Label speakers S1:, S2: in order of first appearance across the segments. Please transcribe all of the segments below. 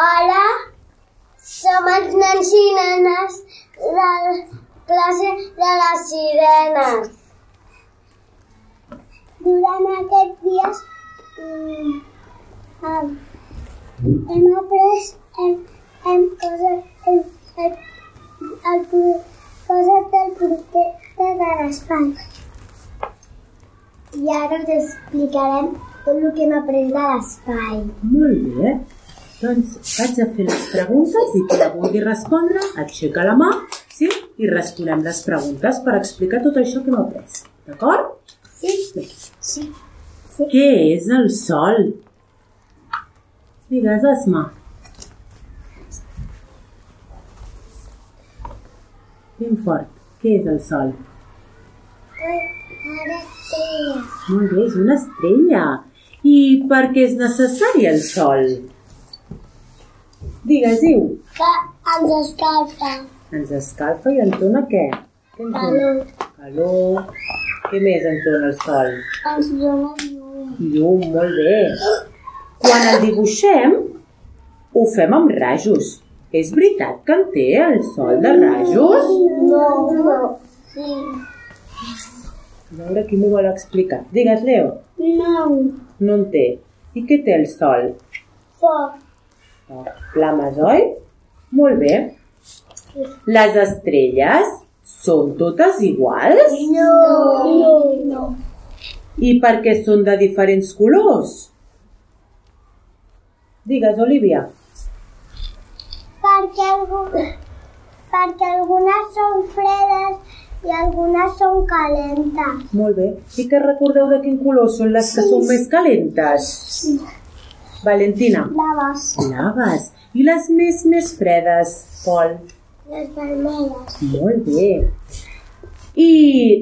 S1: Hola, som els nens i nenes de la classe de les sirenes. Durant aquests dies mm, hem, hem après hem, hem coses, hem, hem, el, pro- coses del projecte de l'espai. I ara us explicarem tot el que hem après de l'espai.
S2: Molt bé. Doncs vaig a fer les preguntes i qui la vulgui respondre aixeca la mà sí? i responem les preguntes per explicar tot això que hem après. D'acord?
S1: Sí, sí.
S2: Què és el sol? Digues, Esma. Ben fort. Què és el sol?
S1: Ara sí.
S2: Molt bé, és una estrella. I per què és necessari el sol? Digues, Iu.
S1: Que ens escalfa.
S2: Ens escalfa i entona què? Què ens dona?
S1: Calor.
S2: Calor. Què més entona el sol?
S1: Ens dona llum.
S2: Llum, molt bé. Quan el dibuixem, ho fem amb rajos. És veritat que en té el sol de rajos?
S1: No, no. Sí.
S2: A veure qui m'ho vol explicar. Digues, Leo,
S1: No.
S2: no en té. I què té el sol?
S1: Foc.
S2: Flames, oi? Molt bé. Les estrelles són totes iguals?
S1: No. No. No.
S2: I per què són de diferents colors? Digues, Olivia.
S1: Perquè, algú, perquè algunes són fredes i algunes són calentes.
S2: Molt bé. I que recordeu de quin color són les que són més calentes? Valentina.
S1: Blaves.
S2: Blaves. I les més, més fredes, Pol.
S1: Les vermelles.
S2: Molt bé. I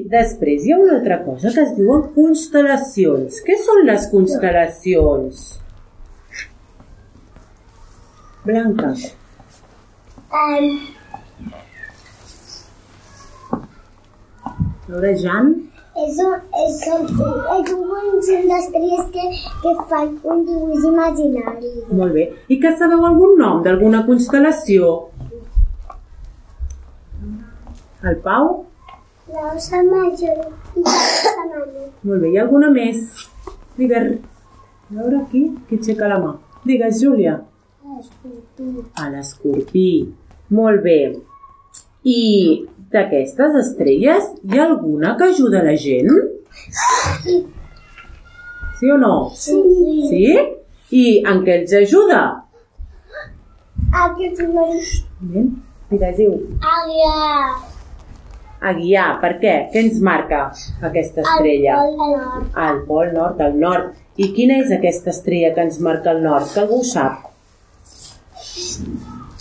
S2: després hi ha una altra cosa que es diuen constel·lacions. Què són les constel·lacions? Blanca.
S1: Um,
S2: A veure, Jan.
S1: és un, és un, és un conjunt d'estrelles que, que fan un dibuix imaginari.
S2: Molt bé. I que sabeu algun nom d'alguna constel·lació? El Pau?
S1: La osa major i la osa menor.
S2: Molt bé. Hi ha alguna més? Digues. A veure aquí, qui aixeca la mà. Digues, Júlia. A l'escorpí. Molt bé. I d'aquestes estrelles, hi ha alguna que ajuda la gent? Sí o no?
S1: Sí.
S2: Sí? I en què els ajuda?
S1: El que tu vols.
S2: Ben. Digues, diu.
S1: Àguila.
S2: a guiar. Per què? Què ens marca aquesta estrella?
S1: El pol nord.
S2: Al pol nord, al nord. I quina és aquesta estrella que ens marca el nord? Que algú ho sap?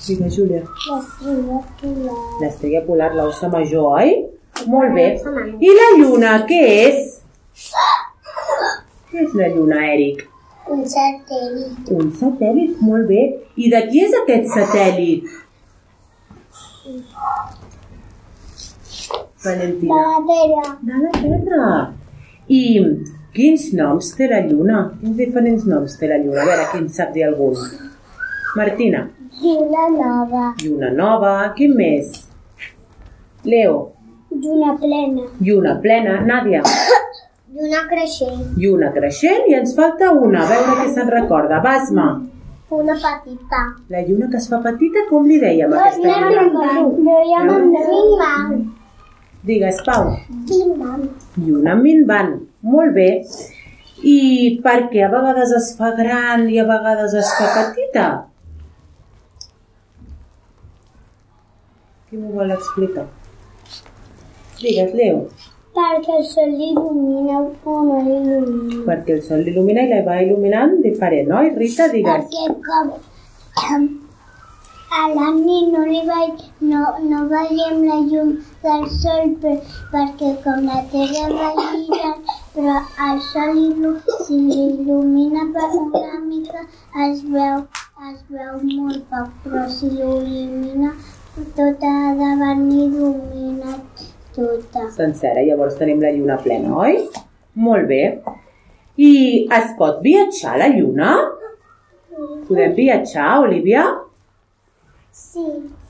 S2: Digues, Júlia.
S1: L'estrella polar.
S2: L'estrella polar, l'ossa major, oi? Molt bé. I la lluna, què és? Què és la lluna, Eric?
S1: Un satèl·lit.
S2: Un satèl·lit, molt bé. I de qui és aquest satèl·lit?
S1: La
S2: Valentina.
S1: matèria.
S2: de la Terra. I quins noms té la Lluna? Quins diferents noms té la Lluna? A veure, qui en sap dir algun? Martina,
S1: Lluna nova.
S2: Lluna nova, quin més? Leo,
S1: Lluna plena.
S2: Lluna plena, Nàdia,
S1: Lluna creixent.
S2: Lluna creixent i ens falta una, a veure què se'n recorda. Basma,
S1: Una petita.
S2: la Lluna que es fa petita, com li dèiem a aquesta Lluna?
S1: No hi ha mandat.
S2: Digues, Pau.
S1: Quin mam?
S2: i una minvant. Molt bé. I per què a vegades es fa gran i a vegades es fa petita? Qui m'ho vol explicar? Digues, Leo.
S1: Perquè el sol il·lumina o no l'il·lumina.
S2: Perquè el sol l'il·lumina i la va il·luminant diferent, oi? Rita, digues.
S1: Perquè com em, a la nit no, li vaig, no, no veiem la llum del sol per, perquè com la terra va girar, però el sol il·lu- si l'il·lumina per una mica es veu, es veu molt poc, però si l'il·lumina tota ha de venir il·luminat tota.
S2: Sencera, llavors tenim la lluna plena, oi? Molt bé. I es pot viatjar a la lluna? Podem viatjar, Olivia?
S1: Sí.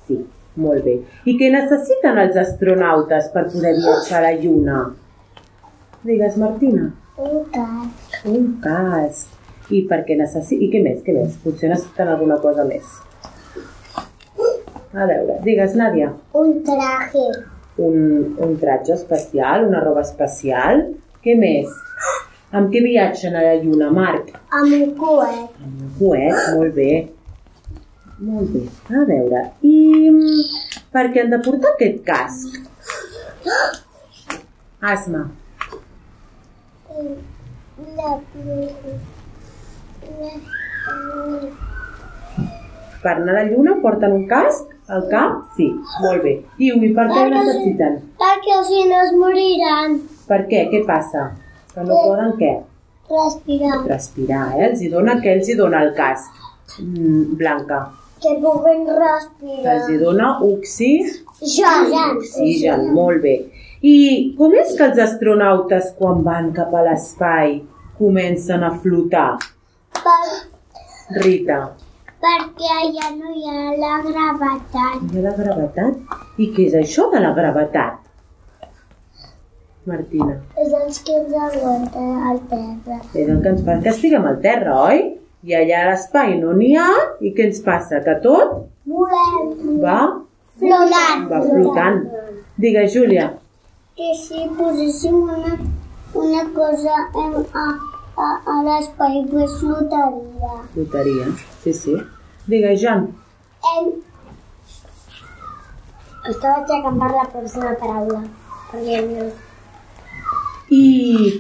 S2: Sí, molt bé. I què necessiten els astronautes per poder viatjar a la Lluna? Digues, Martina.
S1: Un cas.
S2: Un cas. I per què necessi... I què més, què més? Potser necessiten alguna cosa més. A veure, digues, Nàdia.
S1: Un traje.
S2: Un, un tratge especial, una roba especial. Què més? Amb què viatgen a la Lluna, Marc?
S1: Amb un coet.
S2: Amb un coet, molt bé. Molt bé. A veure, i mm, per què han de portar aquest casc? Asma.
S1: La, la, la,
S2: Per anar a la Lluna porten un casc al cap? Sí, molt bé. I Ui, per què ho necessiten?
S1: perquè si no es moriran.
S2: Per què? Què passa? Que no poden què?
S1: Respirar.
S2: Respirar, eh? Els hi dona, què els hi dona el casc? Mm, Blanca.
S1: Que puguen
S2: Els hi
S1: respirar.
S2: dona oxi...
S1: Ja, ja.
S2: Oxigen, molt bé. I com és que els astronautes, quan van cap a l'espai, comencen a flotar?
S1: Per,
S2: Rita,
S1: perquè allà no hi ha la gravetat.
S2: hi ha la gravetat? I què és això de la gravetat? Martina,
S1: És els que ens aguanta al terra.
S2: és el que ens fa que estiguem al terra, oi? I allà a l'espai no n'hi ha, i què ens passa? Que tot
S1: Volem
S2: va,
S1: flotant.
S2: va flotant. Digues, Júlia,
S1: Que si poséssim una, una cosa en, a, a, a l'espai, pues flotaria.
S2: flotaria. Sí, sí. Digues, Jan,
S1: En... Estava aixecant per la pròxima paraula. Perquè no...
S2: i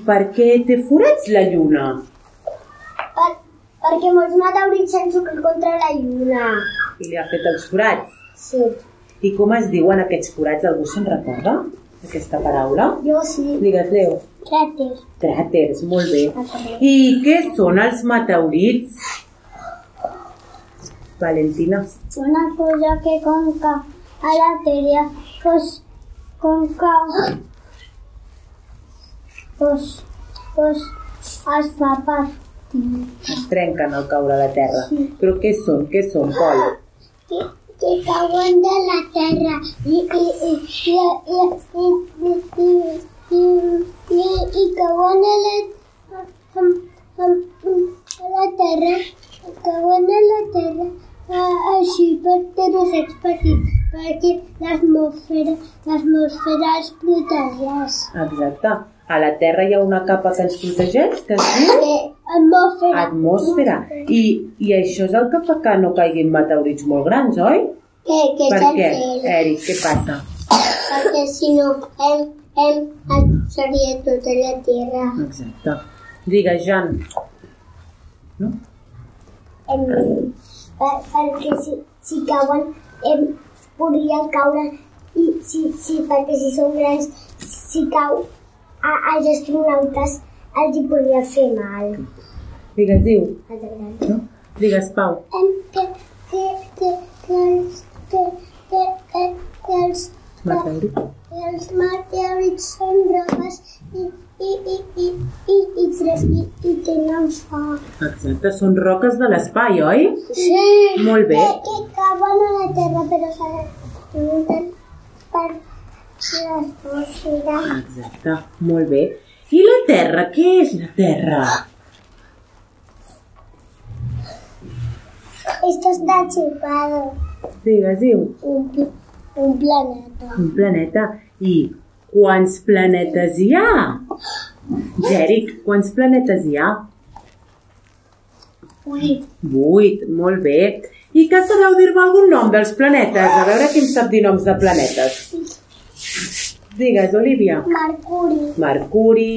S2: per què té forats la lluna?
S1: Per, perquè molts meteorits s'han xocat contra la lluna.
S2: i li ha fet els forats.
S1: Sí.
S2: I com es diuen aquests forats? Algú se'n recorda aquesta paraula?
S1: Jo sí.
S2: Digues, Leo.
S1: Cràter.
S2: Cràters, molt bé. I què són els meteorits? Valentina.
S1: Una cosa que com que a la Terra pues, com que pues, pues, es fa patir.
S2: Es trenquen al caure a la terra. Però què són? Què són, Pol?
S1: Que, que cauen de la Terra i, i, i, i, i, i, i, i, i, i, i cauen a la, a, a, a la Terra cauen a la Terra a, així per trosets petits perquè l'atmosfera l'atmosfera els protegeix.
S2: Exacte. A la terra hi ha una capa que ens protegeix, que es diu
S1: Atmosfera.
S2: atmosfera. I, I això és el que fa que no caiguin meteorits molt grans, oi?
S1: Que, que
S2: Per
S1: és el
S2: què?
S1: cel.
S2: Eric, què passa?
S1: Perquè si no, el, el, el seria tota la Terra.
S2: Exacte. Digues, Jan. No?
S1: em, per- perquè si, si cauen em, podrien caure i si, si, perquè si són grans si cau a, als astronautes els hi podria fer mal
S2: Digues, diu.
S1: Els grans.
S2: No? Digues, Pau.
S1: em, que, que, que, que, els- que, que, que, que els
S2: Meteorit.
S1: que els meteorits són grogues i, i, i, i, i, i, tres- i, i tenen foc.
S2: Exacte, són roques de l'espai, oi?
S1: Sí.
S2: Molt bé.
S1: Que, que cauen a la terra, però s'adapten per l'atmosfera.
S2: Exacte, molt bé. I la Terra, què és la Terra?
S1: Esto está chupado.
S2: Digues, diu.
S1: Un, pl- un planeta.
S2: Un planeta. I quants planetes hi ha? Jèric, quants planetes hi ha?
S1: Ui,
S2: Vuit, molt bé. I que sabeu dir-me algun nom dels planetes? A veure qui em sap dir noms de planetes. Digues, Olivia.
S1: Mercuri.
S2: Mercuri,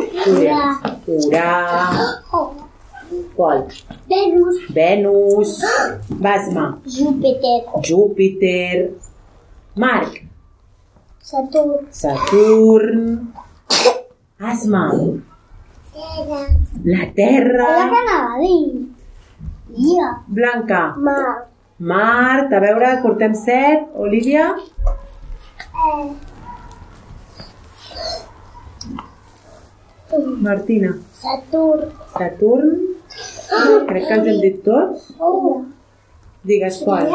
S2: Urà,
S1: Urà.
S2: Urà
S1: Oh,
S2: qual?
S1: Venus.
S2: Venus, Basma,
S1: Júpiter.
S2: Júpiter, Marc,
S1: Saturn.
S2: Saturn, Asma,
S1: Terra.
S2: la
S1: Allò que
S2: Terra,
S1: anava a dir. Jo.
S2: Blanca,
S1: Mar.
S2: Mart, a veure, cortem set, Olivia,
S1: Eh,
S2: Martina,
S1: Saturn.
S2: Saturn, Crec que els hem dit tots.
S1: Oh,
S2: Digues qual.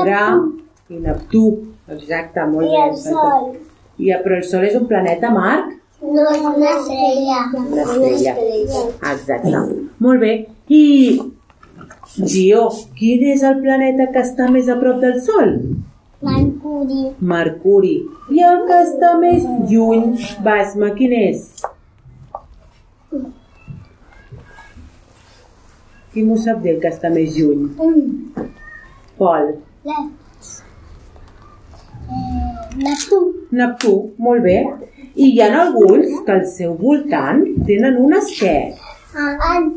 S2: Urà i Neptú. Exacte, molt
S1: I
S2: bé.
S1: el sol.
S2: Ja, però el Sol és un planeta, Marc?
S1: No és una estrella.
S2: Una estrella. Exacte. Molt bé. I, Gio, quin és el planeta que està més a prop del Sol?
S1: Mercuri.
S2: Mercuri. I el que està més lluny, Basma, quin és? Qui m'ho sap dir, el que està més lluny?
S1: Mm.
S2: Pol.
S1: La... Eh, Neptú.
S2: Neptú, molt bé. I hi ha alguns que al seu voltant tenen unes què?
S1: An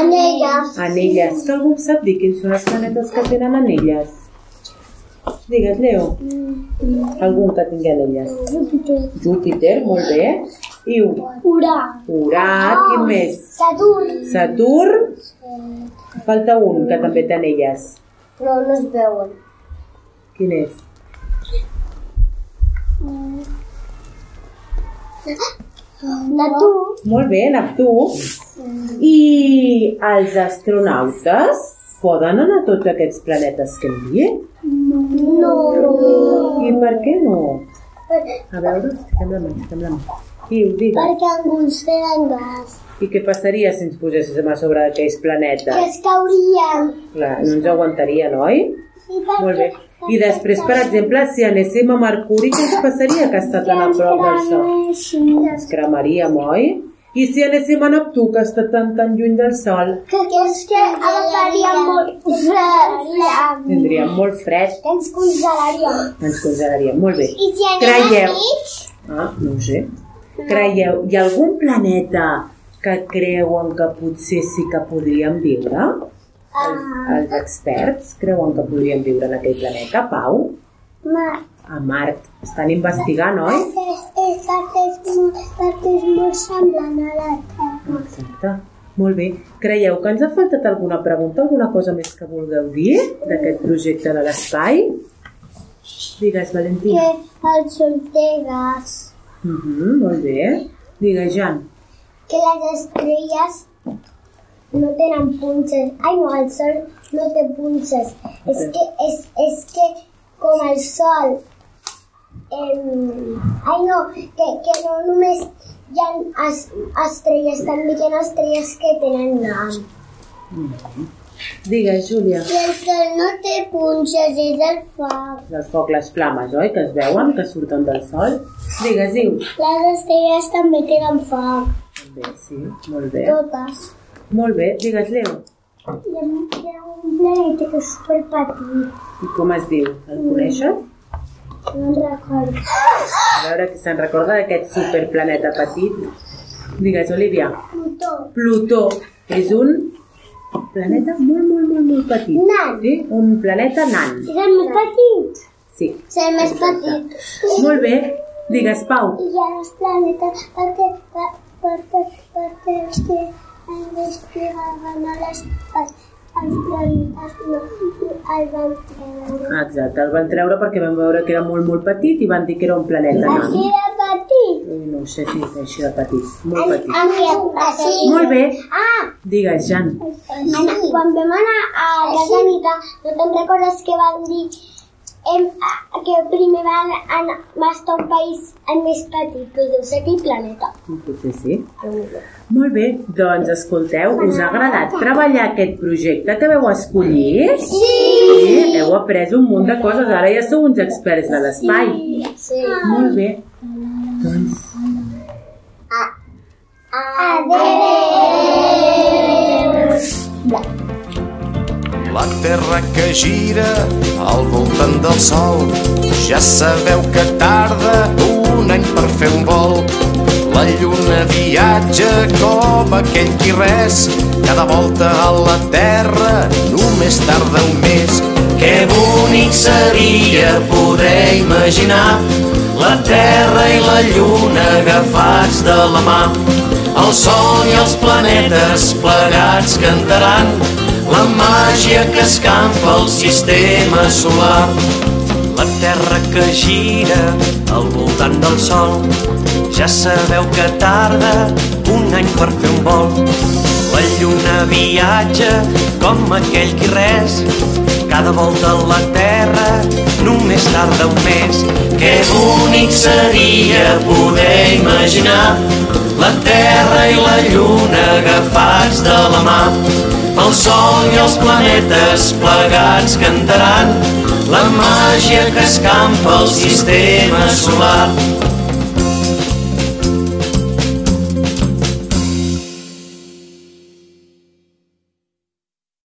S1: anelles.
S2: Anelles. Que algú em sap dir quins són els planetes que tenen anelles? Digues, Leo. Algun que tingui anelles.
S1: Júpiter.
S2: Júpiter, molt bé. I
S1: Urà.
S2: Urà, quin més?
S1: Saturn.
S2: Saturn. Falta un que també té anelles.
S1: Però no es veuen.
S2: Quin és?
S1: Neptú.
S2: Molt bé, Neptú. I els astronautes poden anar a tots aquests planetes que hem dit?
S1: No.
S2: I per què no?
S1: Per-
S2: A veure, fiquem la mà, fiquem la mà. Qui ho digues?
S1: Perquè alguns tenen gas.
S2: I què passaria si ens poséssim a sobre d'aquells
S1: Que
S2: planetes?
S1: es caurien.
S2: Clar, no ens aguantaria, oi?
S1: I perquè,
S2: Molt bé. I després, per exemple, si anéssim a Mercuri, què ens passaria que està tan a prop del Sol?
S1: sol.
S2: Ens cremaríem, oi? I si anéssim a Neptú, que està tan, tan lluny del Sol?
S1: Que, que és que agafaríem molt fred.
S2: Tindríem molt fred,
S1: Que ens congelaríem.
S2: ens congelaríem. Molt bé.
S1: I si anem
S2: Traieu.
S1: a mig,
S2: Ah, no ho sé. Creieu, hi ha algun planeta que creuen que potser sí que podríem viure?
S1: ah,
S2: Els, els experts creuen que podríem viure en aquell planeta, Pau?
S1: ma,
S2: A Mart. Estan investigant, oi?
S1: és, és, perquè, és, molt- perquè és molt semblant a la Terra.
S2: Exacte. Molt bé. Creieu que ens ha faltat alguna pregunta, alguna cosa més que vulgueu dir d'aquest projecte de l'espai? Digues, Valentina.
S1: Que el sol té gas.
S2: Uh molt bé. Digues, Jan.
S1: Que les estrelles no tenen punxes. Ai, no, el sol no té punxes. És que, és, és que com el sol... Em, ai, no, que, que no només hi ha es, estrelles, també hi ha estrelles que tenen nom.
S2: Digues, Júlia.
S1: I el sol no té punxes, és el foc.
S2: del foc, les flames, oi? Que es veuen, que surten del sol. Digues, diu.
S1: Les estrelles també tenen foc,
S2: Bé, sí, molt bé.
S1: totes.
S2: Molt bé, digues, Leo.
S1: Hi ha hi ha un planeta que és superpetit,
S2: I com es diu? El coneixes?
S1: no me'n recordo.
S2: A veure qui se'n recorda d'aquest superplaneta petit. Digues, Olivia.
S1: Plutó.
S2: Plutó és un planeta molt, molt, molt, molt petit.
S1: Nan.
S2: Sí, un planeta nan.
S1: És el més petit.
S2: Sí.
S1: És el més petit.
S2: Molt bé, digues, Pau.
S1: I hi ha els planetes perquè, per- perquè, perquè els que investigaven a l'espai els planetes no el van treure.
S2: Ah, Exacte, el van treure perquè van veure que era molt, molt petit i van dir que era un planeta nan.
S1: Així de petit.
S2: Ui, no ho sé si és així de petit, molt petit.
S1: Així, així.
S2: Molt bé.
S1: Ah,
S2: Digues, Jan.
S1: Ana, quan vam anar a casa Anita, no te'n recordes que van dir em, a- que primer van anar, va estar un país en més petit, que deu ser aquell planeta.
S2: Potser sí. Molt bé, doncs escolteu, us ha agradat treballar aquest projecte que veu escollir?
S1: Sí!
S2: Sí, heu après un munt de coses, ara ja sou uns experts de l'espai.
S1: Sí.
S2: Molt bé. Doncs
S3: La terra que gira al voltant del sol Ja sabeu que tarda un any per fer un vol La lluna viatja com aquell qui res Cada volta a la terra només tarda un mes Que bonic seria poder imaginar La terra i la lluna agafats de la mà El sol i els planetes plegats cantaran la màgia que escampa el sistema solar. La terra que gira al voltant del sol, ja sabeu que tarda un any per fer un vol. La lluna de viatge com aquell qui res cada volta a la terra només tarda un mes que bonic seria poder imaginar la terra i la lluna agafats de la mà el sol i els planetes plegats cantaran la màgia que escampa el sistema solar